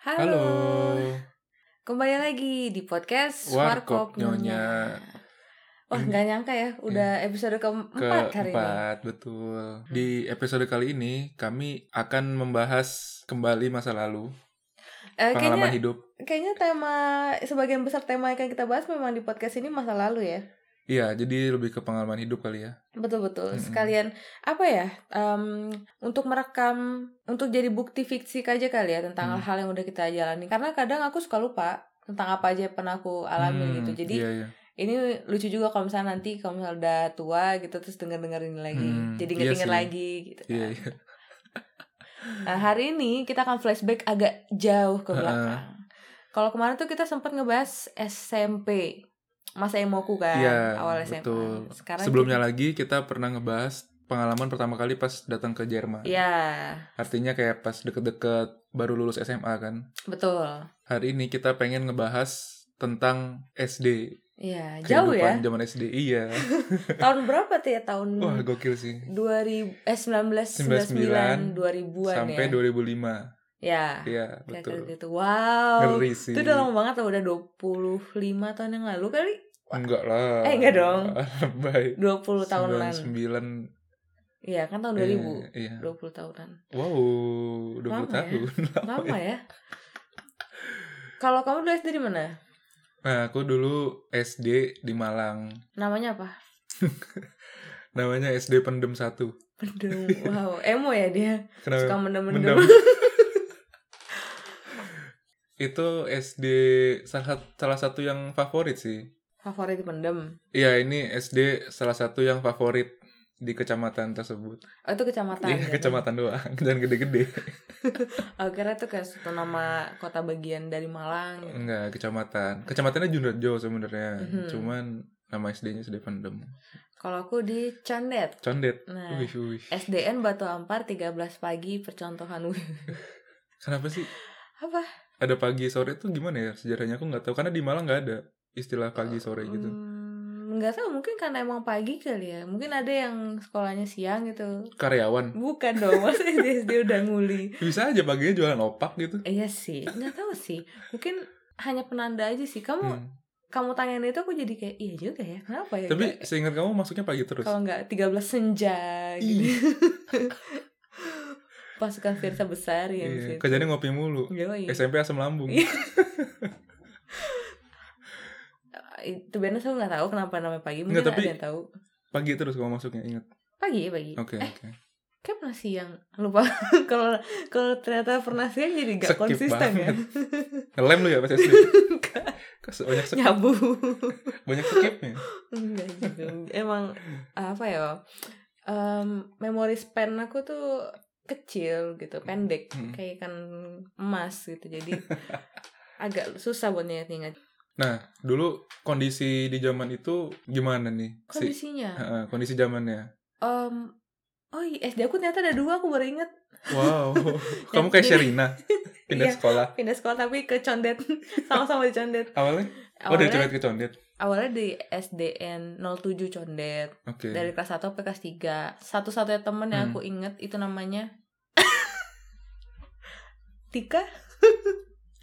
Halo. Kembali lagi di podcast Warkop Warkop Nyonya. Nyonya. Wah, nggak nyangka ya, udah episode keempat hari ini. keempat betul. Di episode kali ini kami akan membahas kembali masa lalu, Eh, kayaknya, pengalaman hidup. kayaknya tema sebagian besar tema yang akan kita bahas memang di podcast ini masa lalu ya. Iya, jadi lebih ke pengalaman hidup kali ya. Betul-betul. Mm-mm. Sekalian apa ya? em, untuk merekam, untuk jadi bukti fiksi aja kali ya tentang Hmm. hal-hal yang udah kita jalani. Karena kadang aku suka lupa tentang apa aja yang pernah aku alami Hmm, gitu. Jadi iya, iya. ini lucu juga kalau misalnya nanti kalau misalnya udah tua gitu terus denger dengerin lagi Hmm, jadi iya inget-inget sih. lagi gitu kan. Iya, iya. nah hari ini kita akan flashback agak jauh ke Ha-ha. belakang kalau kemarin tuh kita sempat ngebahas SMP masa emoku kan Iya, awal SMA betul. sekarang Sebelumnya lagi kita pernah ngebahas pengalaman pertama kali pas datang ke Jerman. ya Artinya kayak pas deket-deket baru lulus SMA kan. betul Hari ini kita pengen ngebahas tentang SD. ya jauh ya Kehidupan zaman SD. Iya. tahun berapa tuh ya tahun Wah, gokil sih. 2000 eh 1999 2000-an Sampai ya 2005. ya Iya, Kira-kira betul. gitu. Wow. Ngeri sih. Itu udah lama banget loh, udah 25 tahun yang lalu kali. Enggak lah. Eh, enggak dong. Baik. 20 tahunan. 99. Iya, kan tahun eh, 2000. iya. 20 tahunan. Wow, 20 Lama ya. tahun. Lama iya. ya. Kalau kamu dulu SD di mana? Nah, aku dulu SD di Malang. Namanya apa? Namanya SD Pendem 1. Mendem. Wow, emo ya dia. Suka Kenapa? mendem-mendem. mendem. Itu SD salah, sat- salah satu yang favorit sih. Favorit mendem. Iya, ini SD salah satu yang favorit di kecamatan tersebut. Oh, itu kecamatan. ya? Iya, kecamatan doang. Jangan gede-gede. Oh, kira itu kayak satu nama kota bagian dari Malang. gitu. Enggak, kecamatan. Kecamatannya Junrejo sebenarnya. Mhm. Cuman nama SD-nya sudah Pendem. Kalau aku di Condet. Condet. Nah, Wih, wih. SDN Batu Ampar 13 pagi percontohan. Kenapa sih apa? ada pagi sore tuh gimana ya sejarahnya aku nggak tahu karena di Malang nggak ada istilah pagi sore gitu. Hmm, nggak tahu mungkin karena emang pagi kali ya mungkin ada yang sekolahnya siang gitu Karyawan bukan dong masa SD SD udah nguli bisa aja paginya jualan opak gitu. Eh, iya sih nggak tahu sih mungkin hanya penanda aja sih kamu Hmm. kamu tanyain itu aku jadi kayak iya juga ya kenapa ya Tapi nggak- seingat kamu masuknya pagi terus. Iya. kalau nggak 13 senja gitu Ih, pasukan Firsa besar ya iya. Kerjanya ngopi mulu. SMP asam lambung. Iya. itu benar aku nggak tahu kenapa namanya pagi mungkin Nggak, tapi- ada yang tahu Pagi terus kamu masuknya ingat. pagi ya pagi Oke, Eh, oke. kayak pernah siang lupa kalau kalau ternyata pernah siang jadi gak Skip konsisten ya banget. Ngelem lu ya pas SD. Nggak. Kas- banyak skip, nyabu banyak skipnya. enggak gitu emang apa ya em memori span aku tuh kecil gitu pendek Hmm. kayak ikan emas gitu jadi agak susah buat ingat-ingat Nah, dulu kondisi di zaman itu gimana nih? Si- kondisinya Heeh, kondisi zamannya. em oh iya SD aku ternyata ada dua aku baru inget Wow, kamu kayak Jadi- Sherina Iya. pindah sekolah. pindah sekolah tapi ke Condet sama-sama di Condet Awalnya, oh dari awalnya condet ke condet. awalnya di SDN 07 Condet Oke. dari kelas 1 sampai kelas 3 satu-satunya temen yang Hmm. aku inget itu namanya Tika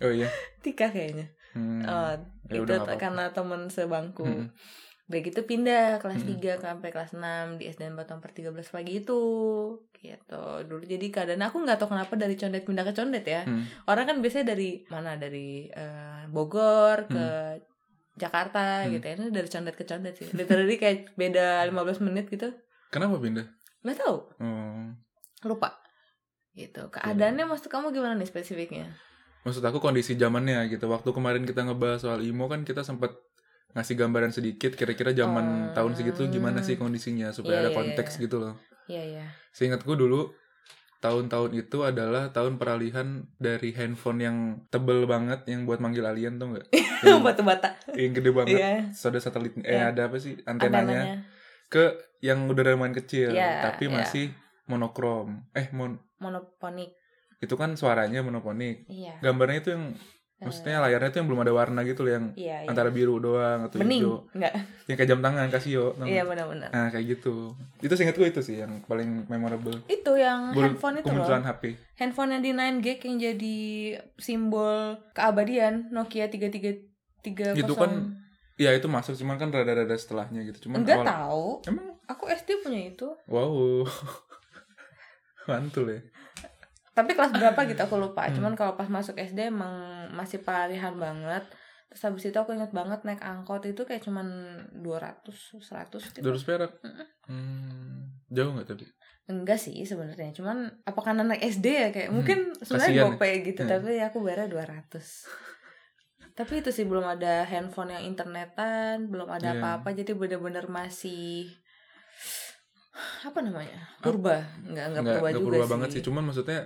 Oh iya. Tika kayaknya Hmm. Eh, Ya itu udah, nggak apa-apa. Hmm, karena temen sebangku Mm-mm. begitu pindah kelas Mm-mm. 3 sampai kelas 6 di SDN Batam per 13 pagi itu gitu dulu jadi keadaan aku nggak tahu kenapa dari condet pindah ke condet ya Hmm. orang kan biasanya dari mana dari eh, Bogor ke Jakarta Hmm. gitu ya Ini dari condet ke condet sih literally kayak beda 15 menit gitu Kenapa pindah? nggak tahu Oh. lupa gitu keadaannya Iya. maksud kamu gimana nih spesifiknya Maksud aku kondisi zamannya gitu. Waktu kemarin kita ngebahas soal IMO kan kita sempat ngasih gambaran sedikit kira-kira Oh. zaman tahun segitu gimana sih kondisinya Iya, supaya ada iya, konteks iya. gitu loh. iya iya Seingatku dulu tahun-tahun itu adalah tahun peralihan dari handphone yang tebel banget yang buat manggil alien tuh enggak? yang, batu bata yang gede banget. iya Soda satelit eh Iya. ada apa sih antenanya antenanya, ke yang udah lumayan kecil Iya, tapi iya. masih monokrom. Eh mon monoponik itu kan suaranya monoponik. iya Gambarnya itu yang Maksudnya layarnya tuh yang belum ada warna gitu loh yang Eh. Iya, iya. antara biru doang atau Bening. hijau. Enggak. Yang kayak jam tangan Casio. tau nggak? Iya benar-benar. Nah, kayak gitu. Itu seingat gue itu sih yang paling memorable. Itu yang Bul- handphone itu loh. Nah, kemunculan HP. Handphone yang di 9 gig yang jadi simbol keabadian Nokia 3330. Itu kan ya itu masuk cuman kan rada-rada setelahnya gitu. Cuman enggak awal- tahu. Emang Aku SD punya itu. wow. Mantul ya. Tapi kelas berapa gitu aku lupa. Hmm. Cuman kalau pas masuk SD emang masih pelarihan banget. Terus habis itu aku inget banget naik angkot itu kayak cuman 200 100 gitu. 200 perak. Hmm, jauh nggak tapi? Enggak sih sebenarnya. Cuman apa karena naik SD ya kayak mungkin Hmm, kasihan sebenarnya ya. gope gitu, Hmm. tapi aku bayarnya 200. tapi itu sih belum ada handphone yang internetan, belum ada Iya. apa-apa jadi bener-bener masih apa namanya? Purba. Enggak enggak Nggak- purba nggak juga berubah sih. banget sih. Cuman maksudnya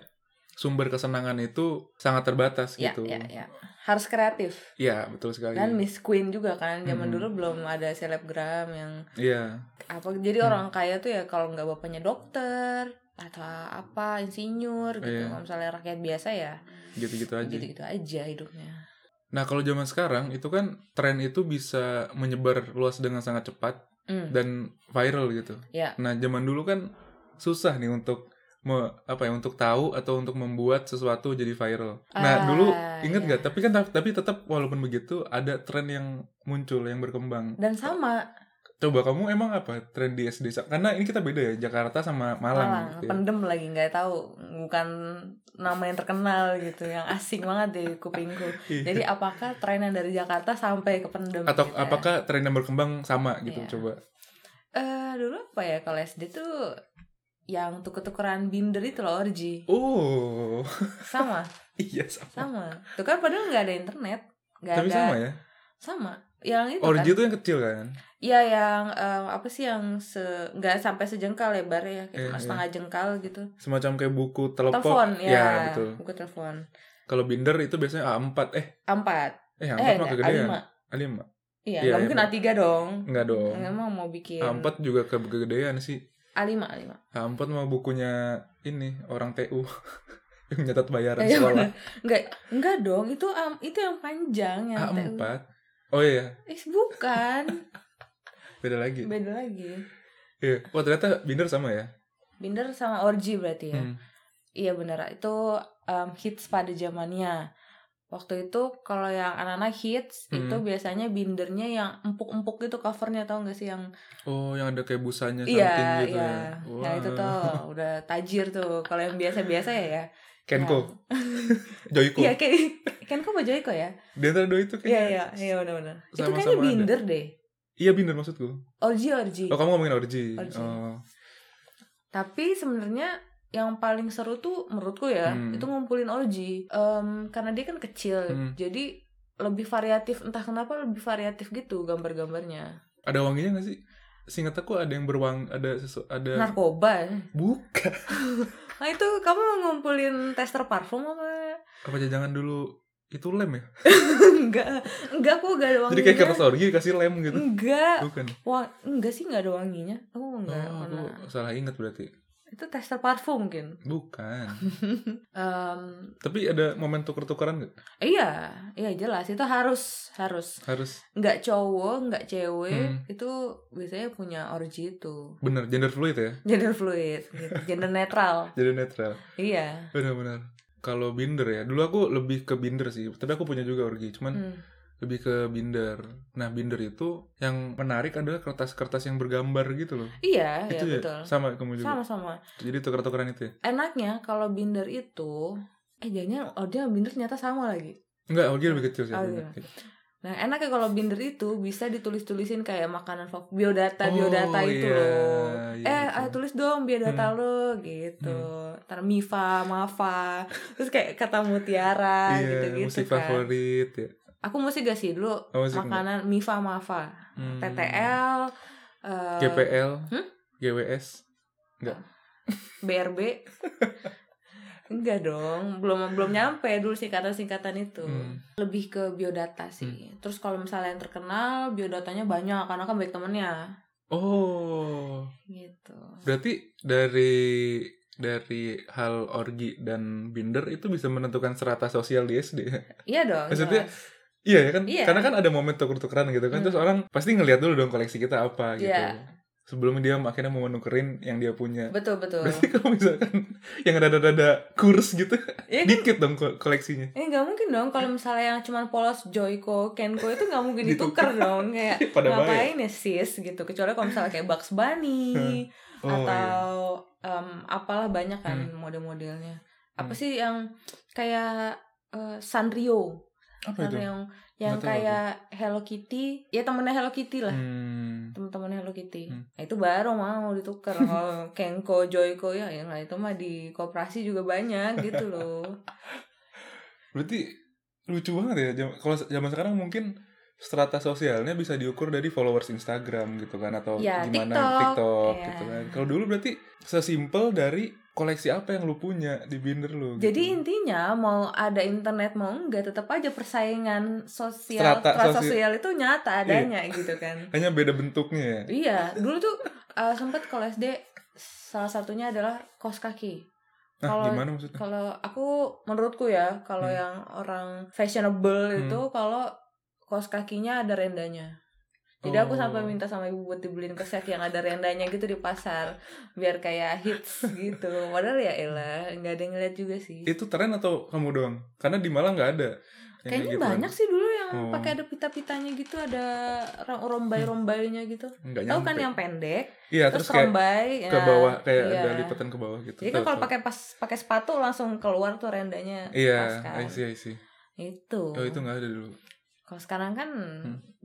sumber kesenangan itu sangat terbatas Ya, gitu. ya, ya. Harus kreatif. Iya, betul sekali. Dan Miss Queen juga kan zaman Mhm. dulu belum ada selebgram yang Iya. apa jadi orang kaya tuh ya kalau nggak bapaknya dokter atau apa insinyur gitu. Iya. Kalau misalnya rakyat biasa ya Gitu-gitu aja. gitu-gitu aja hidupnya. Nah, kalau zaman sekarang itu kan tren itu bisa menyebar luas dengan sangat cepat Hmm. dan viral gitu. Ya. Nah, zaman dulu kan susah nih untuk me- apa ya untuk tahu atau untuk membuat sesuatu jadi viral. Nah, Ah, dulu inget iya. nggak? Tapi kan tapi tetap walaupun begitu ada tren yang muncul yang berkembang. Dan sama Coba kamu emang apa tren di SD? Karena ini kita beda ya Jakarta sama Malang. Malang, gitu ya. pendem lagi nggak tahu bukan nama yang terkenal gitu yang asing banget di kupingku. Iya. Jadi apakah tren yang dari Jakarta sampai ke pendem? Atau gitu ya? apakah tren yang berkembang sama gitu? Iya. Coba. Eh, dulu apa ya kalau SD tuh yang tuker-tukeran binder itu loh orji Oh, sama iya sama. sama tuh kan padahal nggak ada internet nggak Tapi ada sama ya. sama yang itu Orgy kan itu yang kecil kan? iya yang eh, apa sih yang se nggak sampai sejengkal lebarnya ya kayak Iya, cuma iya. setengah jengkal gitu Semacam kayak buku telepon. telepon ya, betul. buku telepon Kalau binder itu biasanya A4 eh A empat eh A4 eh mah enggak, kegedean. A5 A5. iya Iya, Hmm. nggak iya, mungkin A3 dong Enggak dong. nggak mau mau bikin A4 juga ke kegedean sih. A5 A5 A4 mah bukunya ini orang TU yang nyatat bayaran Iya, sekolah. nggak nggak dong itu am- itu yang panjang yang A4. TU. Oh iya, Ih, bukan beda lagi. beda lagi Iya. Wah, ternyata binder sama ya. binder sama orgy berarti ya Hmm. iya benar itu um, hits pada zamannya waktu itu kalau yang anak-anak hits Hmm. itu biasanya bindernya yang empuk-empuk gitu covernya tau gak sih yang Oh, yang ada kayak busanya something iya gitu iya ya. nah itu tuh udah tajir tuh kalau yang biasa-biasa ya ya Kenko, Joyko. Yang- iya Ken Kenko apa Joyko ya Di antara dua itu iya kayaknya. iya iya benar-benar itu Sama-sama kayaknya ada. binder deh Iya, binder maksudku. orgy orgy Oh, kamu ngomongin orgy. Orgy. Oh. tapi sebenarnya yang paling seru tuh menurutku ya Hmm. itu ngumpulin orgy Em, karena dia kan kecil Hmm. jadi lebih variatif entah kenapa lebih variatif gitu gambar-gambarnya Ada wanginya gak sih? Singkat aku ada yang berwang ada sesu, ada Nah. narkoba bukan nah itu kamu ngumpulin tester parfum apa apa jangan dulu itu lem ya? enggak enggak kok enggak ada Jadi kayak wanginya kertas orgi dikasih lem gitu. enggak Bukan. wah enggak sih enggak ada wanginya oh enggak Oh, aku pernah. salah ingat berarti. itu tester parfum mungkin Bukan. Em, Tapi ada momen tuker-tukeran gak? iya iya jelas itu harus harus Harus nggak cowok nggak cewek Hmm. itu biasanya punya orgi itu bener gender fluid ya. gender fluid gitu. gender netral Jadi netral. iya Benar-benar. Kalau binder ya, dulu aku lebih ke binder sih. Tapi aku punya juga orgi, cuman Hmm. lebih ke binder. Nah, binder itu yang menarik adalah kertas-kertas yang bergambar gitu loh. iya iya itu ya, betul sama kamu juga. sama-sama Jadi tuker-tukeran itu ya? enaknya kalau binder itu eh jangan oh dia binder ternyata sama lagi Enggak, Ogi lebih kecil sih. Oh, aku iya. ingat. nah enaknya kalau binder itu bisa ditulis-tulisin kayak makanan favorit biodata Oh, biodata itu iya, loh iya, eh betul. Hmm. ah, tulis dong biodata lo gitu ntar Mifa Mafa terus kayak kata mutiara Iya, gitu-gitu musik kan. favorit ya. aku musik gak sih dulu Oh, musik makanan Mifa Mafa Hmm. TTL eh, GPL, Hmm? GWS. BRB enggak dong belum belum nyampe dulu singkatan singkatan itu Hmm. lebih ke biodata sih terus kalau misalnya yang terkenal biodatanya banyak karena kan baik temennya Oh, gitu berarti dari dari hal orgi dan binder itu bisa menentukan serata sosial di SD. Iya dong. Maksudnya, jelas. Iya ya kan? Iya. Karena kan ada momen tuker-tukeran gitu kan. Hmm. Terus orang pasti ngelihat dulu dong koleksi kita apa gitu. Iya. Sebelum dia akhirnya mau nukerin yang dia punya. betul betul. Berarti kalau misalkan yang rada-rada kurs gitu, Iya kan? dikit dong ko- koleksinya. Eh nggak mungkin dong kalau misalnya yang cuman polos Joyko, Kenko itu nggak mungkin ditukar dong kayak Pada baik. ngapain ya sis gitu kecuali kalau misalnya kayak Bugs Bunny Oh, iya. atau em, apalah banyak kan model-modelnya apa Hmm. sih yang kayak eh, Sanrio Apa itu? Sanrio yang yang Nggak tahu kayak Hello Kitty ya temennya Hello Kitty lah Hmm. temen-temen Hello Kitty Hmm. Nah, itu baru mau ditukar kalau Kenko Joyko ya ya nggak, itu mah di koperasi juga banyak gitu loh Berarti lucu banget ya. Jam- Kalau zaman sekarang mungkin strata sosialnya bisa diukur dari followers Instagram gitu kan atau Ya, gimana TikTok. Ya. gitu kan. Kalau dulu berarti sesimpel dari koleksi apa yang lu punya di binder lu. gitu. Jadi intinya mau ada internet mau enggak tetap aja persaingan sosial Strata strata, sosi- Iya. sosial itu nyata adanya gitu kan. hanya beda bentuknya ya. iya, dulu tuh uh, sempet kalau SD salah satunya adalah kos kaki. Nah, Kalau- gimana maksudnya? Kalau aku menurutku ya, kalau Hmm. yang orang fashionable Hmm. itu kalau kos kakinya ada rendanya. Jadi aku Oh. sampai minta sama ibu buat dibeliin kos kaki yang ada rendanya gitu di pasar biar kayak hits gitu. Padahal ya elah, nggak ada yang ngeliat juga sih. Itu tren atau kamu doang? Karena di Malang nggak ada. yang kayak Kayaknya gitu kan. banyak sih dulu yang Oh. pakai ada pita-pitanya gitu, ada ro- rombai-rombainya gitu. Nggak Tahu kan nyampe. yang pendek, Iya, terus, terus, kayak rombai ke ya, bawah kayak iya. ada lipatan ke bawah gitu. Jadi kan Tahu, kalau tahu. pakai pas pakai sepatu langsung keluar tuh rendanya. pas Iya, kan. I see, I see. Itu. Oh, itu nggak ada dulu. Kalau sekarang kan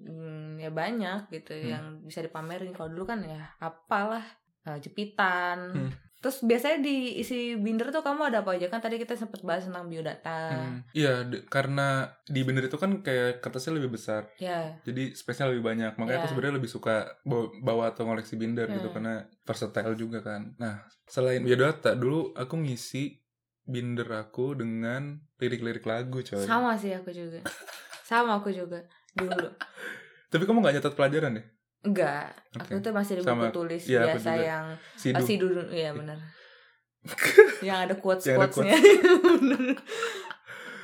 mm, ya banyak gitu Hmm. yang bisa dipamerin. Kalau dulu kan ya apalah eh, jepitan. Hmm. Terus biasanya di isi binder tuh kamu ada apa aja? Kan tadi kita sempat bahas tentang biodata. Hmm. Iya, de- karena di binder itu kan kayak kertasnya lebih besar. Ya, jadi space-nya lebih banyak makanya aku Iya. sebenarnya lebih suka bawa, bawa atau ngoleksi binder gitu Hmm. karena versatile juga kan nah selain biodata dulu aku ngisi binder aku dengan lirik-lirik lagu coy sama sih aku juga. Sama aku juga dulu. tapi kamu nggak nyatat pelajaran ya Enggak, aku Oke. tuh masih di buku Sama. tulis Iya, aku biasa juga. yang sidu ah, si dulu ya benar. yang ada quotes Yang ada quotesnya.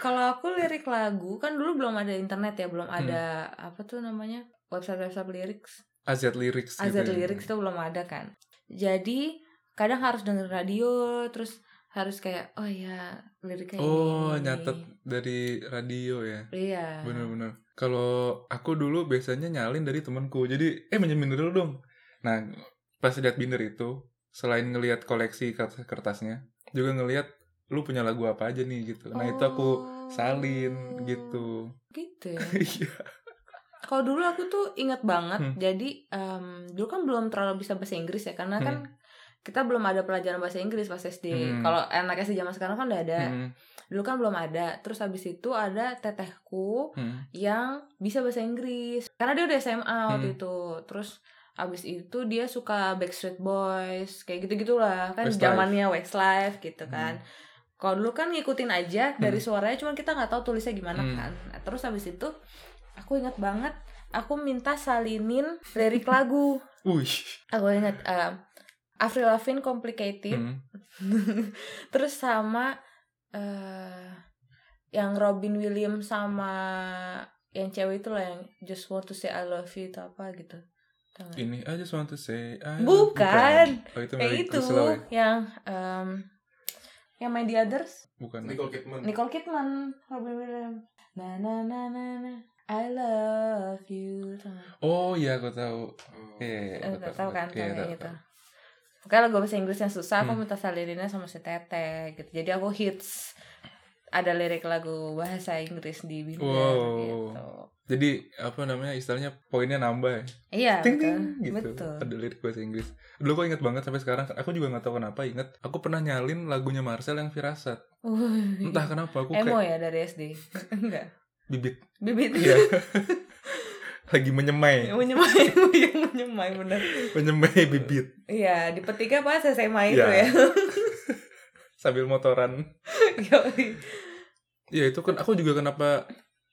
Kalau aku lirik lagu kan dulu belum ada internet ya, belum ada Hmm. apa tuh namanya website website lyrics, AZ lyrics gitu azad ya. lyrics itu belum ada kan. Jadi kadang harus denger radio, terus harus kayak oh ya liriknya ini, oh ini, ini. nyatat dari radio ya Iya. bener-bener kalau aku dulu biasanya nyalin dari temanku jadi eh minjem binder dulu dong nah pas lihat binder itu selain ngelihat koleksi kert- kertasnya juga ngelihat lu punya lagu apa aja nih gitu nah itu aku Oh. salin gitu Gitu ya. Iya. Kalau dulu aku tuh ingat banget, Hmm. jadi em, dulu kan belum terlalu bisa bahasa Inggris ya, karena kan kita belum ada pelajaran bahasa Inggris pas SD. Hmm. Kalau anak SD zaman sekarang kan udah ada, Hmm, dulu kan belum ada. Terus habis itu ada tetehku hmm. yang bisa bahasa Inggris, karena dia udah SMA waktu Hmm. itu. Terus habis itu dia suka Backstreet Boys, kayak gitu gitulah kan Westlife. zamannya Westlife gitu kan. Kalau dulu kan ngikutin aja dari Hmm. suaranya, cuman kita nggak tahu tulisnya gimana Hmm. kan. Nah, terus habis itu aku ingat banget, aku minta salinin lirik lagu. Wih. Aku ingat eh, Avril Lavigne Complicated, Hmm. terus sama eh, yang Robin Williams sama yang cewek itu lah yang Just Want to Say I Love You itu apa gitu. Tahu nggak? ini aja just want to say I- Bukan. Bukan. oh, Iya, itu Yang milik itu Priscilla ya? gitu, yang em, yang main di Others. bukan Kidman. Nicole Kidman, Robin Williams. Na na na na na. I love you. oh iya aku tahu Eh, iya iya, aku Gak tahu kan Iya, kayak tahu, gitu. tahu. Pokoknya lagu bahasa Inggris yang susah, aku Hmm. minta salirinnya sama si Tete gitu. Jadi aku hits ada lirik lagu bahasa Inggris di binder Wow. gitu. jadi apa namanya istilahnya poinnya nambah ya Iya, ting ting betul. gitu betul. ada lirik bahasa Inggris dulu kok inget banget sampai sekarang aku juga nggak tahu kenapa inget aku pernah nyalin lagunya Marcel yang Firasat Wuih. entah kenapa aku Emo kayak ya dari SD. Enggak. bibit Bibit. Iya. lagi menyemai yang menyemai, yang menyemai bener. menyemai bibit Iya, di petiga pas SMA itu Iya. ya. sambil motoran Yoi. ya itu kan aku juga kenapa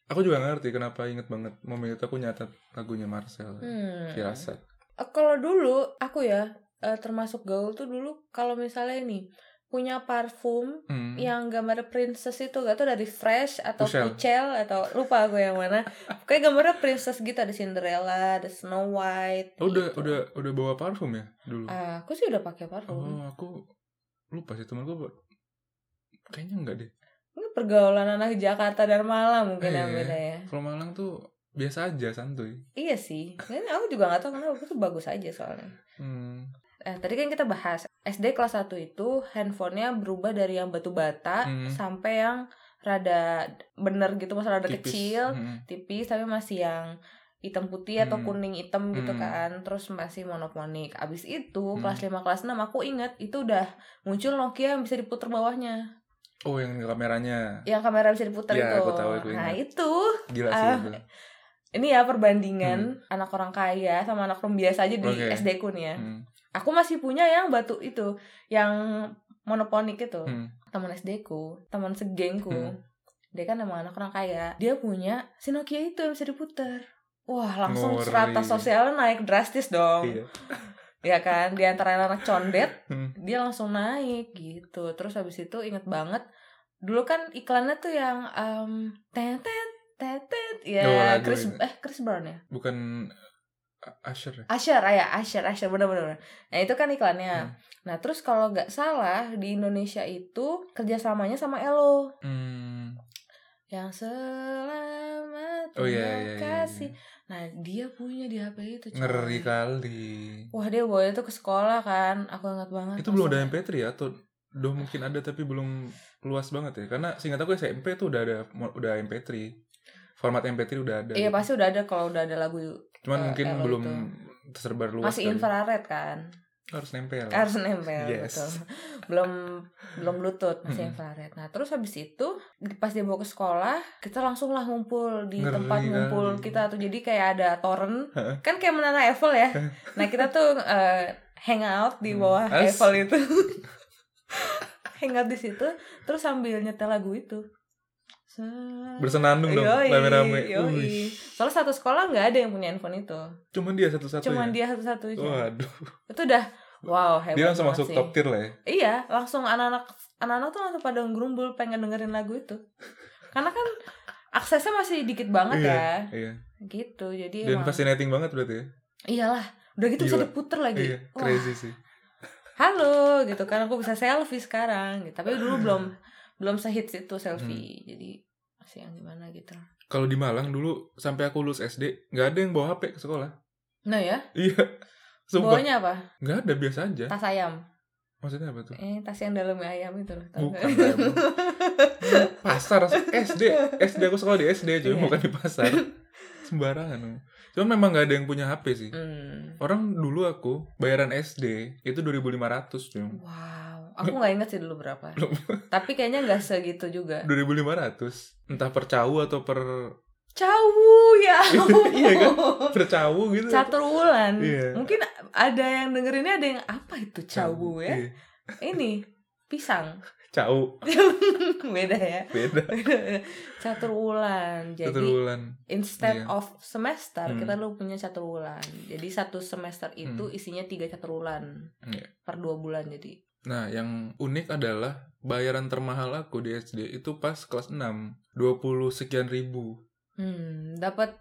aku juga nggak ngerti kenapa inget banget momen itu aku nyatet lagunya Marcel Hmm. Firasat Eh, kalau dulu aku ya eh, termasuk gaul tuh dulu kalau misalnya ini punya parfum Hmm. yang gambar princess itu gak tuh dari Fresh atau Pucel. Pucel, atau lupa gue yang mana. Kayak gambarnya princess gitu ada Cinderella, ada Snow White. Oh, udah gitu. udah udah bawa parfum ya dulu. Ah, aku sih udah pakai parfum. Oh, aku lupa sih temen gue kayaknya enggak deh. Ini pergaulan anak Jakarta dan Malang mungkin Iya. yang beda ya. Kalau Malang tuh biasa aja santuy. Iya sih. Ini aku juga gak tahu kenapa aku tuh bagus aja soalnya. Hmm. Eh, tadi kan kita bahas SD kelas 1 itu handphonenya berubah dari yang batu bata Hmm. sampai yang rada bener gitu masalah rada tipis. kecil Hmm. tipis tapi masih yang hitam putih atau Hmm. kuning hitam gitu Hmm. kan terus masih monoponik abis itu kelas 5 kelas 6 aku inget itu udah muncul Nokia yang bisa diputer bawahnya Oh, yang kameranya. yang kamera bisa diputer Iya, itu aku tahu, aku nah ingat. itu Gila sih Ah, itu. ini ya perbandingan anak orang kaya sama anak orang biasa aja di Hmm. Oke. SD ku nih ya Hmm. aku masih punya yang batu itu yang monoponik itu Hmm. teman SD ku teman segengku Hmm. dia kan emang anak orang kaya dia punya si Nokia itu yang bisa diputer wah langsung Ngeri. strata sosialnya naik drastis dong Iya. ya kan di antara anak condet Hmm. dia langsung naik gitu terus habis itu inget banget dulu kan iklannya tuh yang um, tetet tetet Oh, ya lagu Chris itu. eh Chris Brown ya Bukan A- Usher ya? Asher ya Asher Asher bener-bener nah itu kan iklannya Hmm. nah terus kalau nggak salah di Indonesia itu kerjasamanya sama Elo Hmm. yang selamat Oh iya, terima iya, iya, kasih iya. nah dia punya di HP itu coy. Ngeri kan. kali. wah dia bawa itu ke sekolah kan aku ingat banget Itu belum ada langsung. MP3 ya atau udah mungkin ada tapi belum luas banget ya? Karena seingat aku SMP tuh udah ada udah MP3. Format MP3 udah ada. iya pasti udah ada kalau udah ada lagu Cuman eh, mungkin Elo belum itu. tersebar luas. masih kali. infrared kan Harus nempel. harus nempel Yes. betul belum belum lutut masih Mm-mm. infrared nah terus habis itu pas dia bawa ke sekolah kita langsung lah ngumpul di Ngeri kan. tempat ngumpul kali. kita tuh jadi kayak ada toren Heeh. kan kayak menara Eiffel ya nah kita tuh eh, hangout di Hmm. bawah As- Eiffel itu hangout di situ terus sambil nyetel lagu itu Se- Bersenandung dong Yoi, rame-rame. yoi. Wih. Soalnya satu sekolah nggak ada yang punya handphone itu, Cuman dia satu-satunya. cuman dia satu-satunya. ya? Waduh. Itu udah wow hebat Dia langsung banget masuk sih. top tier lah ya. Iya, langsung anak-anak anak-anak tuh langsung pada ngerumbul pengen dengerin lagu itu. Karena kan aksesnya masih dikit banget Iya, ya. Iya. Gitu. Jadi Dan emang fascinating banget berarti ya. iyalah, udah gitu bisa Gila. diputer lagi. Iya, Wah, crazy sih. halo gitu kan aku bisa selfie sekarang gitu. Tapi dulu belum belum sehits itu Hmm. selfie. Jadi masih yang gimana gitu. Kalau di Malang dulu sampai aku lulus SD, nggak ada yang bawa HP ke sekolah. Nah ya, Iya. Sumpah, bawanya apa? nggak ada biasa aja. Tas ayam. Maksudnya apa tuh? Eh, tas yang dalamnya ayam itu loh. tau Bukan nggak? lah, emang. pasar SD SD aku sekolah di SD cuy Iya. bukan di pasar sembarangan cuman memang nggak ada yang punya HP sih Hmm. orang dulu aku bayaran SD itu 2500 cuy Wow, aku nggak inget sih dulu berapa. Tapi kayaknya nggak segitu juga. 2500 entah per cawu atau per Cawu ya. Iya kan? per cawu gitu Catur wulan. Iya. Mungkin ada yang dengerinnya ada yang apa itu cawu ya? Iya. Ini pisang. cawu Beda ya. beda catur wulan. Jadi satu bulan instead Iya. of semester Hmm. kita lu punya catur wulan. Jadi satu semester itu isinya tiga catur wulan. Iya. Per dua bulan jadi. nah yang unik adalah bayaran termahal aku di SD itu pas kelas 6 20 sekian ribu Hmm, dapat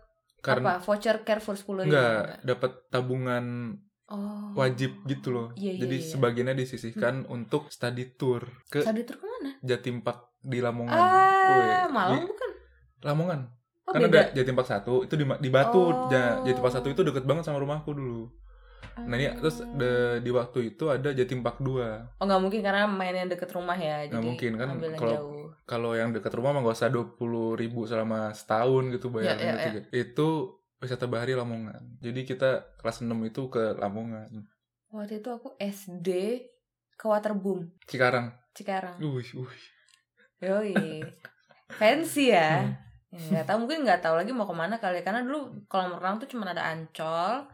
apa? Oh, iya, karena Voucher care for 10 ribu. nggak dapat tabungan Oh. wajib gitu loh. Iya, iya, Jadi iya. Hmm. sebagiannya disisihkan untuk study tour ke Sadi tur kemana? Jatim Park di Lamongan. Ah, Woi, Malang di bukan? Lamongan. Oh, Karena Iya. Kan ada beda. Jatim Park 1 itu di, di Batu. Oh. Ja- Jatim Park 1 itu deket banget sama rumahku dulu. Nah, ini terus de- di waktu itu ada Jatim Park 2. Oh nggak mungkin karena mainnya deket rumah ya. Nggak jadi mungkin, kan ambil yang kalau- jauh. Kalau yang deket rumah mah gak usah 20 ribu selama setahun gitu bayarnya Iya, iya, gitu. Itu wisata bahari Lamongan. Jadi kita kelas 6 itu ke Lamongan. Waktu itu aku SD ke Waterboom Cikarang. Cikarang. Uih, uih. Yoi. Fancy Hmm. ya. Ya, Nggak tahu mungkin nggak tahu lagi mau kemana kali ya, karena dulu kolam renang tuh cuma ada Ancol,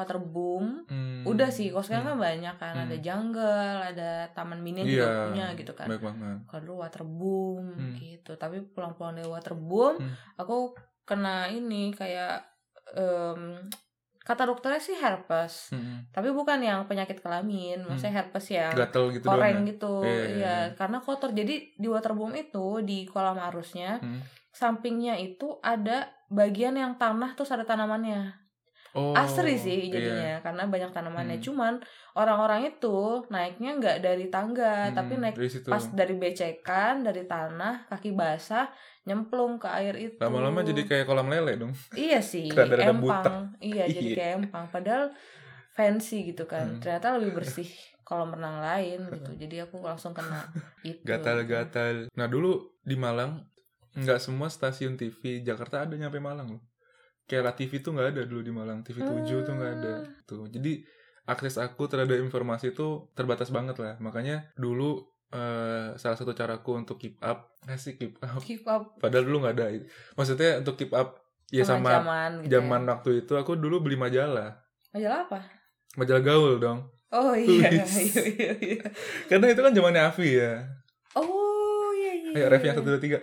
Waterboom, Hmm. udah sih. Kalau sekarang Hmm. kan banyak kan ada Hmm. jungle, ada taman mini Iya, juga punya gitu kan. Baik banget. kalau dulu waterboom Hmm. gitu tapi pulang-pulang dari waterboom Hmm. aku kena ini kayak em, kata dokternya sih herpes Mm-mm. tapi bukan yang penyakit kelamin maksudnya herpes yang Gatel Hmm. gitu koreng doang. ya? gitu Iya, iya, iya karena kotor jadi di waterboom itu di kolam arusnya Mm. sampingnya itu ada bagian yang tanah terus ada tanamannya Oh, asri sih iya. jadinya karena banyak tanamannya Hmm. cuman orang-orang itu naiknya nggak dari tangga Mm-mm, tapi naik iya. Hmm. dari situ. pas dari becekan dari tanah kaki basah nyemplung ke air itu lama-lama jadi kayak kolam lele dong. iya sih Kira ada butek. empang iya jadi Iya. kayak empang padahal fancy gitu kan Hmm. ternyata lebih bersih kolam renang lain gitu jadi aku langsung kena itu Gatal-gatal. Nah dulu di Malang nggak semua stasiun TV Jakarta ada nyampe Malang loh. Kayak La TV tuh nggak ada dulu di Malang. TV 7 tuh nggak ada. Tuh. Jadi akses aku terhadap informasi itu terbatas banget lah. Makanya dulu eh, salah satu caraku untuk keep up, kasih keep up. keep up Padahal dulu nggak ada. Maksudnya untuk keep up ya sama zaman gitu ya. zaman waktu itu aku dulu beli majalah. majalah apa Majalah gaul dong. oh iya Wis. iya iya, iya. Karena itu kan zamannya Avi ya. oh iya iya Ayo ref yang satu dua tiga.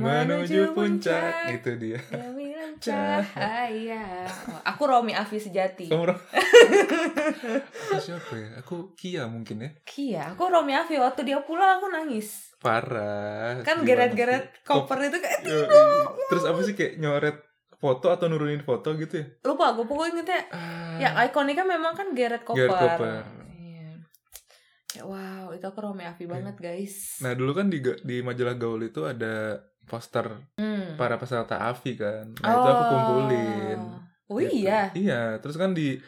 Menuju puncak. Itu dia. Gemilang cahaya. Oh, aku Romi Afi sejati. Kamu Ro- aku siapa ya? Aku Kia mungkin ya. Iya, aku Romi Afi waktu dia pulang aku nangis. Parah. Kan Gimana geret-geret sih? Iya. koper itu kan- kayak Yoi. Terus apa sih kayak nyoret foto atau nurunin foto gitu ya? lupa aku pokoknya ingetnya Ah, ya ikoniknya memang kan geret koper. Geret koper. Iya. Ya wow, itu aku Romi Afi banget, guys. Iya. Nah dulu kan di ga- di majalah Gaul itu ada poster Hmm. para peserta AVI kan. Nah itu aku Oh. kumpulin. Oh Gitu. iya. Iya. Terus kan di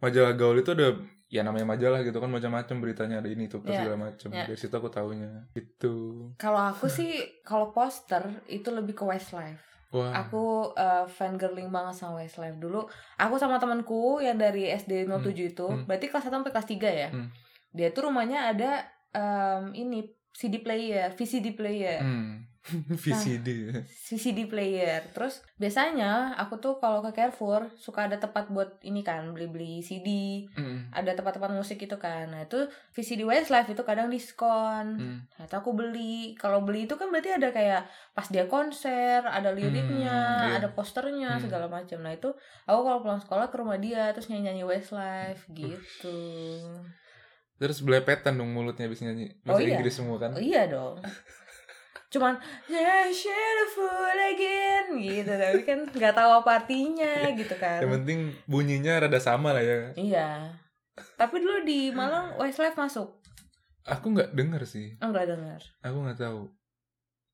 majalah Gaul itu ada ya namanya majalah gitu kan macam-macam beritanya ada ini tuh Iya. segala macam. Iya. Dari situ aku taunya. Gitu. Itu. Kalau aku sih kalau poster itu lebih ke Westlife. Wah. Aku uh, fangirling banget sama Westlife dulu. Aku sama temanku yang dari SD 07 itu, hmm. berarti kelas 1 sampai kelas 3 ya. Hmm. Dia tuh rumahnya ada um, ini CD player, VCD player. Hmm. VCD. VCD player. Terus biasanya aku tuh kalau ke Carrefour suka ada tempat buat ini kan beli-beli CD, Mm. ada tempat-tempat musik itu kan. Nah, itu VCD Westlife itu kadang diskon. Mm. Nah, itu aku beli. Kalau beli itu kan berarti ada kayak pas dia konser, ada liriknya, Hmm, iya. ada posternya, Hmm. segala macam. Nah, itu aku kalau pulang sekolah ke rumah dia terus nyanyi-nyanyi Westlife gitu. Terus belepetan dong mulutnya habis nyanyi Oh, Bahasa iya. Inggris semua kan Oh iya dong. Cuman yeah, share a fool again gitu tapi kan nggak tahu apa Iya. artinya gitu kan. Yang penting bunyinya rada sama lah ya Iya. Tapi dulu di Malang Westlife masuk. Oh, Aku nggak denger sih Enggak dengar. Aku nggak tahu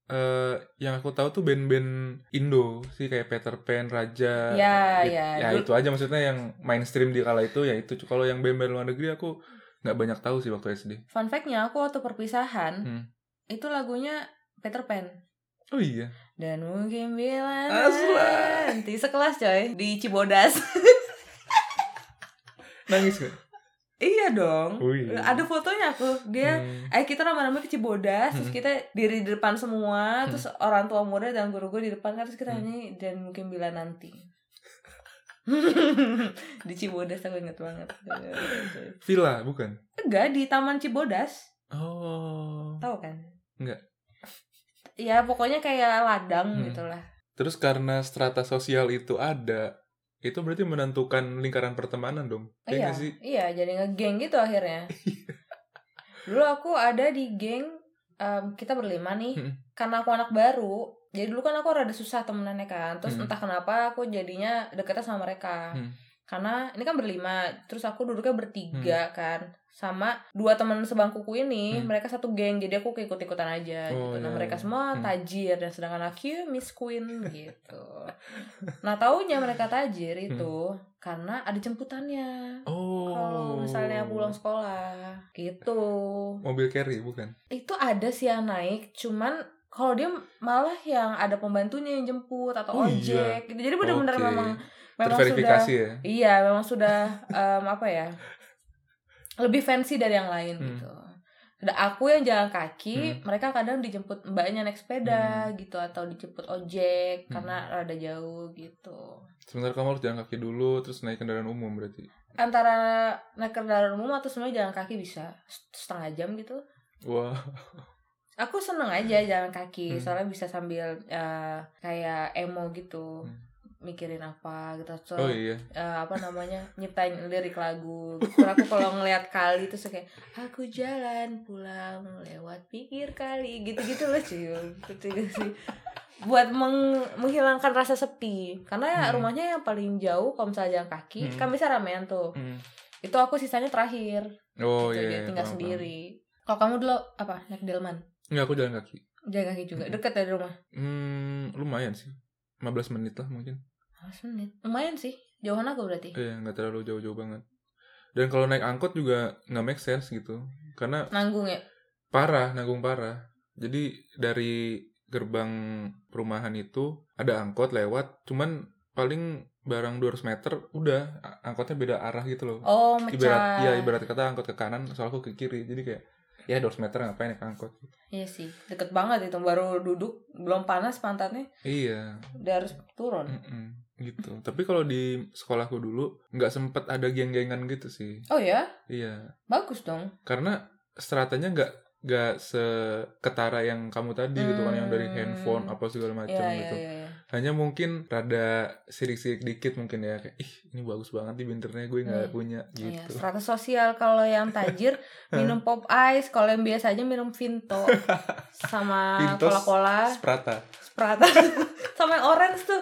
eh Yang aku tahu tuh band-band Indo sih Kayak Peter Pan, Raja Ya, It- ya. Ya Dulu- itu aja maksudnya yang mainstream di kala itu ya itu Kalau yang band-band luar negeri aku nggak banyak tahu sih waktu SD Fun fact-nya aku waktu perpisahan Hmm. itu lagunya Peter Pan. Oh iya Dan mungkin bila Asla. nanti sekelas coy di Cibodas. Nangis gak? iya dong. Oh iya. Ada fotonya aku. Dia Hmm. eh kita rame-rame ke Cibodas, terus Hmm. kita diri di depan semua, Hmm. terus orang tua murid dan guru gue di depan kan terus kita Hmm. nyanyi dan mungkin bila nanti. di Cibodas aku inget banget. Villa bukan? Enggak di Taman Cibodas, Oh tahu kan? Enggak. Ya pokoknya kayak ladang Hmm. gitu lah. Terus karena strata sosial itu ada Itu berarti menentukan lingkaran pertemanan dong Iya iya, nggak sih? Iya. iya jadi ngegeng gitu akhirnya. dulu aku ada di geng em, kita berlima nih, Mm. karena aku anak baru. Jadi dulu kan aku rada susah temenannya kan, terus Mm. entah kenapa aku jadinya deketnya sama mereka. Mm. Karena ini kan berlima, terus aku duduknya Hmm. bertiga kan, sama dua teman sebangkuku ini, Mm. mereka satu geng, jadi aku keikut-ikutan aja. Oh, gitu. Nah iya, mereka iya. semua Mm. tajir dan sedangkan aku Miss Queen gitu. nah taunya mereka tajir Hmm. itu karena ada jemputannya Oh. kalau misalnya pulang sekolah gitu mobil carry bukan? itu ada sih yang naik cuman kalau dia malah yang ada pembantunya yang jemput atau Oh, iya. ojek gitu jadi benar-benar Oke. memang memang sudah Terverifikasi ya. iya memang sudah em, apa ya lebih fancy dari yang lain Hmm. gitu ada aku yang jalan kaki mereka kadang dijemput mbaknya naik sepeda gitu atau dijemput ojek Hmm. karena rada jauh gitu Sebentar kamu harus jalan kaki dulu terus naik kendaraan umum berarti. antara naik kendaraan umum atau sebenarnya jalan kaki bisa setengah jam gitu Wah. aku seneng aja jalan kaki Hmm. soalnya bisa sambil eh, kayak emo gitu Hmm. mikirin apa gitu so, oh iya eh, apa namanya nyiptain lirik lagu gitu. Terus aku kalau ngelihat kali itu kayak aku jalan pulang lewat pinggir kali gitu-gitu loh cuy gitu sih buat meng- menghilangkan rasa sepi karena ya Hmm. rumahnya yang paling jauh kalau misalnya jalan kaki Hmm. kan bisa ramean tuh Hmm. itu aku sisanya terakhir oh gitu, iya jadi iya, tinggal paham, paham. sendiri kalau kamu dulu apa naik delman Enggak, aku jalan kaki jalan kaki juga Mm-mm. deket dari rumah hmm lumayan sih 15 menit lah mungkin 15 menit lumayan sih jauhan aku berarti Iya, nggak terlalu jauh-jauh banget. Dan kalau naik angkot juga nggak make sense gitu. Karena nanggung ya parah, nanggung parah. Jadi dari gerbang perumahan itu ada angkot lewat, cuman paling barang 200 meter udah a- angkotnya beda arah gitu loh. oh mecah ibarat ya ibarat kata angkot ke kanan, soal aku ke kiri. Jadi kayak ya 200 meter ngapain naik angkot. Iya sih deket banget itu baru duduk belum panas pantatnya Iya, udah harus turun mm-mm, gitu. Tapi kalau di sekolahku dulu nggak sempet ada geng-gengan gitu sih. oh ya Iya, bagus dong karena stratanya nggak nggak seketara yang kamu tadi gitu kan yang dari Hmm. handphone apa segala macam Iya iya gitu iya iya. hanya mungkin rada sirik-sirik dikit mungkin ya kayak ih ini bagus banget nih binternya gue nggak Hmm. punya Iya, gitu Eh. strata sosial kalau yang tajir minum pop ice kalau yang biasa aja minum vinto sama Vintos. cola cola Sprata Sprata sama yang orange tuh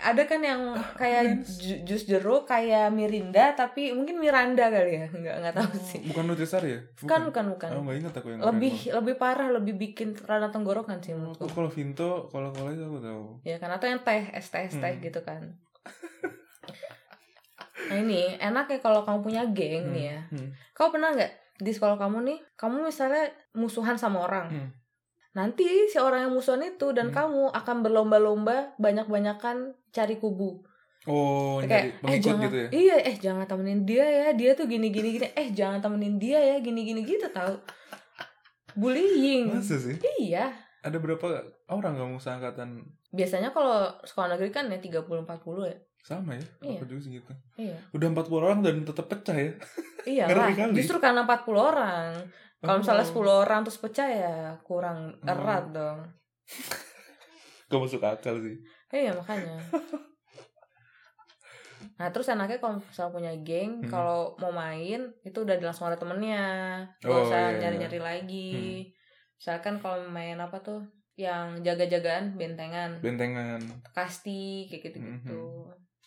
ada kan yang kayak ju- jus jeruk kayak mirinda tapi mungkin miranda kali ya nggak nggak tahu sih bukan Nutrisari ya kan bukan bukan Oh, nggak ingat aku yang lebih gitu. orange lebih parah lebih bikin rana tenggorokan sih banget. aku menurutku kalau Vinto kalau kalau itu aku tahu ya kan atau yang teh es teh es teh Hmm. gitu kan nah ini enak ya kalau kamu punya geng nih ya Hmm. Kau pernah nggak di sekolah kamu nih, kamu misalnya musuhan sama orang. Hmm. Nanti si orang yang musuhan itu dan Hmm. kamu akan berlomba-lomba banyak-banyakan cari kubu. oh nyari Kayak eh pengikut jangan gitu ya iya eh jangan temenin dia ya, dia tuh gini-gini gini. Eh jangan temenin dia ya, gini-gini gitu tahu. Bullying. masa sih Iya. ada berapa orang kamu seangkatan Biasanya kalau sekolah negeri kan ya 30 40 ya. sama ya Iya. aku juga segitu Iya. udah 40 orang dan tetap pecah ya Iya Ngeri kali. Justru karena 40 orang. Kalau misalnya Oh. 10 orang terus pecah ya kurang Hmm. erat dong. Gak masuk akal sih. Iya makanya. Nah terus anaknya kalau misalnya punya geng, Hmm. kalau mau main itu udah langsung ada temennya, nggak Oh, usah iya, Hmm. iya. nyari-nyari lagi. Misalkan kalau main apa tuh, yang jaga-jagaan bentengan, Bentengan. kasti kayak Hmm, gitu-gitu.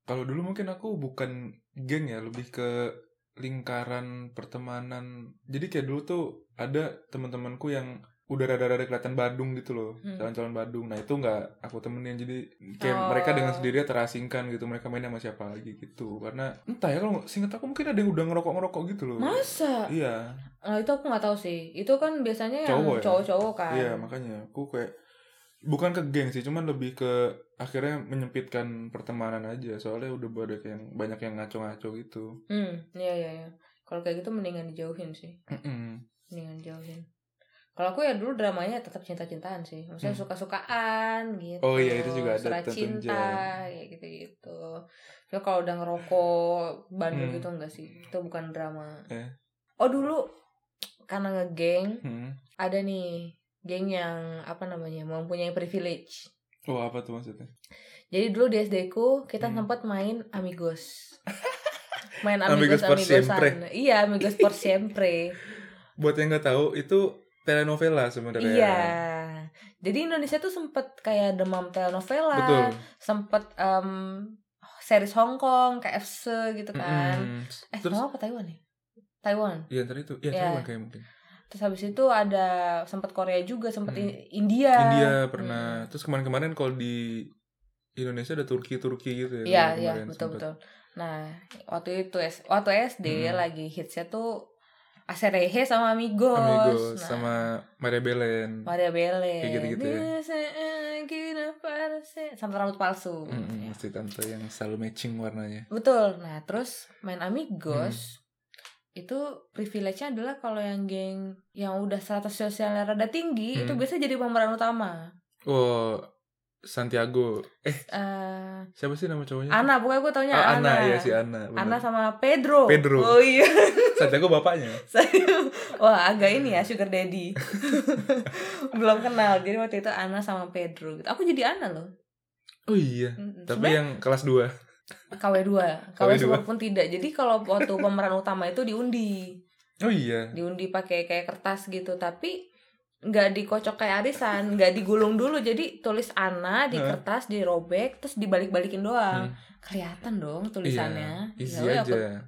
Kalau dulu mungkin aku bukan geng ya, lebih ke lingkaran pertemanan. Jadi kayak dulu tuh ada teman-temanku yang udah rada-rada kelihatan Badung gitu loh, Hmm. calon-calon Badung. Nah itu nggak aku temenin, jadi kayak Oh. mereka dengan sendirinya terasingkan gitu. Mereka main sama siapa lagi gitu. Karena entah ya kalau singkat aku mungkin ada yang udah ngerokok-ngerokok gitu loh. Masa? Iya, Nah itu aku nggak tahu sih. Itu kan biasanya yang Cowok ya? cowok-cowok kan. iya makanya aku kayak bukan ke geng sih, cuman lebih ke akhirnya menyempitkan pertemanan aja. Soalnya udah banyak yang banyak yang ngaco-ngaco gitu. Hmm, iya iya. iya. Kalau kayak gitu mendingan dijauhin sih. Mm-mm. mendingan jauhin kalau aku ya dulu dramanya tetap cinta-cintaan sih maksudnya Hmm. suka-sukaan gitu Oh iya, itu juga ada surat tentunya. cinta ya gitu gitu ya kalau udah ngerokok bandel Hmm. gitu enggak sih itu bukan drama Eh. oh dulu karena ngegeng Hmm. ada nih geng yang apa namanya mempunyai privilege Oh apa tuh maksudnya? jadi dulu di SD ku kita Hmm. sempat main amigos main amigos Amigos por amigosan iya amigos por siempre Buat yang nggak tahu itu telenovela sebenarnya. Iya. Jadi Indonesia tuh sempet kayak demam telenovela, Betul. sempet em, series Hong Kong, KFC gitu kan. Mm-mm. Eh, Terus Hong Kong apa Taiwan ya? Taiwan. ya ntar itu, ya Iya. Taiwan kayak mungkin. Terus habis itu ada sempet Korea juga, sempet Hmm. I- India. India Hmm. pernah. Terus kemarin-kemarin kalau di Indonesia ada Turki-Turki gitu Iya, ya. kemarin iya, sempet. betul betul. Nah, waktu itu S- waktu SD Hmm. lagi hitsnya tuh Acerehe sama Amigos. Nah, Amigos sama Maria Belen. Maria Belle. Kayak gitu-gitu ya. Sampai rambut palsu. Mm-mm, Ya. Mesti tante yang selalu matching warnanya. Betul. Nah, terus main Amigos Hmm. itu privilege-nya adalah kalau yang geng yang udah status sosialnya rada tinggi itu Hmm. biasa jadi pemeran utama. Oh Santiago. Eh Eh, siapa sih nama cowoknya? Ana, pokoknya gue taunya Ah, Ana. Ana, iya si Ana. bener. Ana sama Pedro. Pedro. Oh iya. Santiago bapaknya. Saya- Wah, agak ini ya sugar daddy. Belum kenal. Jadi waktu itu Ana sama Pedro gitu. Aku jadi Ana loh. Oh iya. Mm-mm. Tapi Sebenarnya yang kelas 2. KW2 KW KW2. semua pun tidak jadi kalau waktu pemeran utama itu diundi Oh iya. diundi pakai kayak kertas gitu tapi nggak dikocok kayak arisan nggak digulung dulu jadi tulis Ana di Hah? kertas dirobek terus dibalik-balikin doang Hmm. kelihatan dong tulisannya Iya, Easy Ya udah, aja. aku-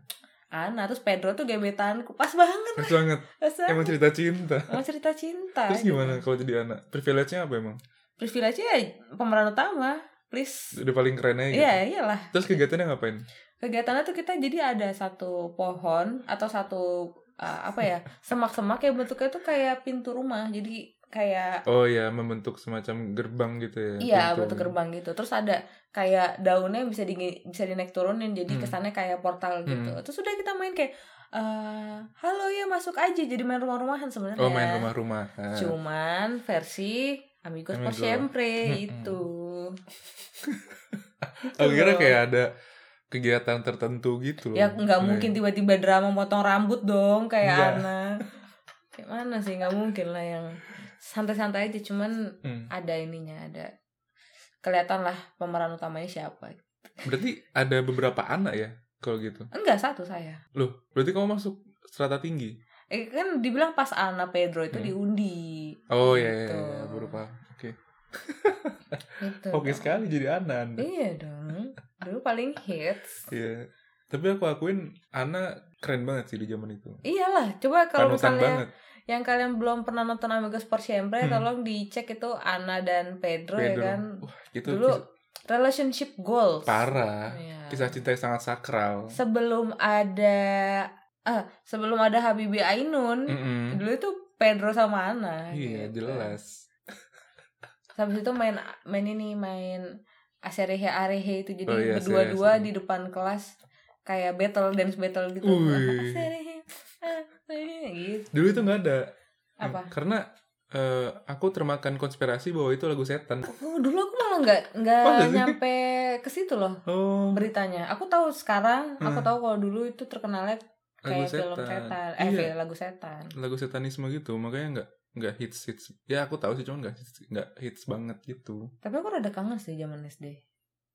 Ana terus Pedro tuh gebetanku pas banget Pas banget. Masa? Emang cerita cinta. Emang cerita cinta gitu. Terus gimana kalau jadi anak? Privilege-nya apa emang? privilege ya pemeran utama please Udah paling keren aja gitu. Iya, iyalah. Terus kegiatannya ngapain? Kegiatannya tuh kita jadi ada satu pohon atau satu uh, apa ya semak-semak yang bentuknya tuh kayak pintu rumah. Jadi kayak Oh ya, membentuk semacam gerbang gitu ya. Iya pintu. bentuk gerbang gitu. Terus ada kayak daunnya yang bisa di bisa dinaik turunin jadi Hmm. kesannya kayak portal gitu. Terus udah kita main kayak eh halo ya masuk aja jadi main rumah-rumahan sebenarnya. Oh, main rumah-rumah. Ah. Cuman versi Amigos por Amigos. Hmm. siempre gitu. Mm-mm. itu. Aku Oh, kira Betul. kayak ada kegiatan tertentu gitu loh. gitu. Ya nggak mungkin tiba-tiba drama motong rambut dong kayak Iya. anak. Kayak mana sih nggak mungkin lah yang santai-santai aja cuman Hmm. ada ininya ada kelihatan lah pemeran utamanya siapa Berarti ada beberapa anak ya kalau gitu. Enggak satu saya. Loh, berarti kamu masuk strata tinggi. Eh kan dibilang pas Ana Pedro itu Hmm. diundi. Oh iya, iya, Gitu. iya, baru paham. Oke. Gitu. Oke sekali jadi anak. Anda. Iya dong. Dulu paling hits. Iya. Tapi aku akuin Ana keren banget sih di zaman itu. Iyalah, coba kalau Panutan misalnya banget. yang kalian belum pernah nonton Amigos por Siempre, Hmm. tolong dicek itu Ana dan Pedro, ya Pedro. kan. Wah, itu Dulu kisah- relationship goals. parah. Iya. Kisah cinta yang sangat sakral. Sebelum ada eh sebelum ada Habibie Ainun, Mm-mm. dulu itu Pedro sama Ana. Hmm. Iya, gitu. jelas. Terus habis itu main main ini main aserehe arehe itu jadi Oh iya, berdua-dua aserehe, aserehe. di depan kelas kayak battle dance battle gitu. Wih. Aserehe arehe gitu. Dulu itu nggak ada. Apa? Karena eh, aku termakan konspirasi bahwa itu lagu setan. Oh, dulu aku malah nggak nggak Masa Oh, iya sih? nyampe ke situ loh Oh, beritanya. Aku tahu sekarang, aku Hmm. tahu kalau dulu itu terkenalnya lagu kayak film setan, eh Iya, film- lagu setan. lagu setanisme gitu. Makanya nggak nggak hits hits. Ya aku tahu sih, cuman nggak hits, nggak hits banget gitu. Tapi aku rada kangen sih zaman SD.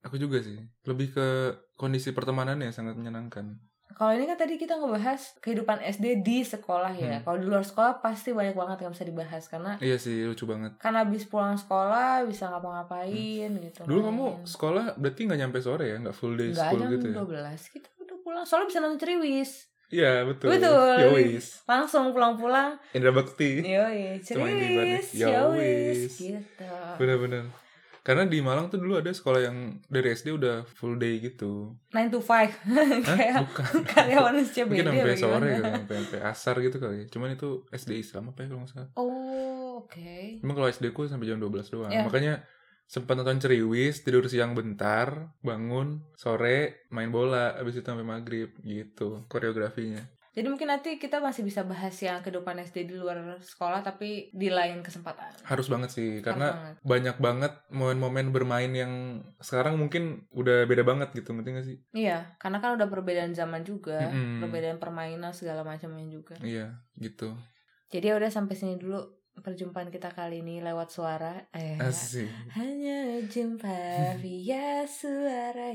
Aku juga sih. Lebih ke kondisi pertemanannya yang sangat menyenangkan. Kalau ini kan tadi kita ngebahas kehidupan SD di sekolah ya. Hmm. Kalau di luar sekolah pasti banyak banget yang bisa dibahas karena Iya sih, lucu banget. kan habis pulang sekolah bisa ngapa-ngapain gitu Hmm. Dulu kan. kamu sekolah berarti nggak nyampe sore ya? Nggak full day nggak school jam gitu ya? 12 kita udah pulang soalnya bisa nonton ceriwis Iya, betul. Betul. Yowis. langsung pulang-pulang Indra Iya. Bekti. yoi Cuma ini Ya banget. ceriwis Yowis. yowis gitu Bener-bener. Karena di Malang tuh dulu ada sekolah yang dari SD udah full day gitu. 9 to 5 Hah? kayak Bukan. karyawan SCBD Mungkin apa sampai gimana. sore ya. kali, sampai, sampai asar gitu kali. Cuman itu SD Islam apa ya kalau nggak salah. oh oke Emang kalau SD ku sampai jam 12 doang. Ya. Makanya sempat nonton ceriwis, tidur siang bentar, bangun, sore, main bola, habis itu sampai maghrib gitu koreografinya. jadi mungkin nanti kita masih bisa bahas yang kehidupan SD di luar sekolah tapi di lain kesempatan Harus banget Keren sih, karena banget. banyak banget momen-momen bermain yang sekarang mungkin udah beda banget gitu, ngerti gak sih? iya karena kan udah perbedaan zaman juga Mm-mm. perbedaan permainan segala macamnya juga Iya, gitu. Jadi ya udah sampai sini dulu perjumpaan kita kali ini lewat suara. Eh, Asik. hanya jumpa via suara.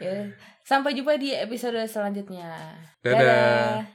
ya, sampai jumpa di episode selanjutnya. Dadah.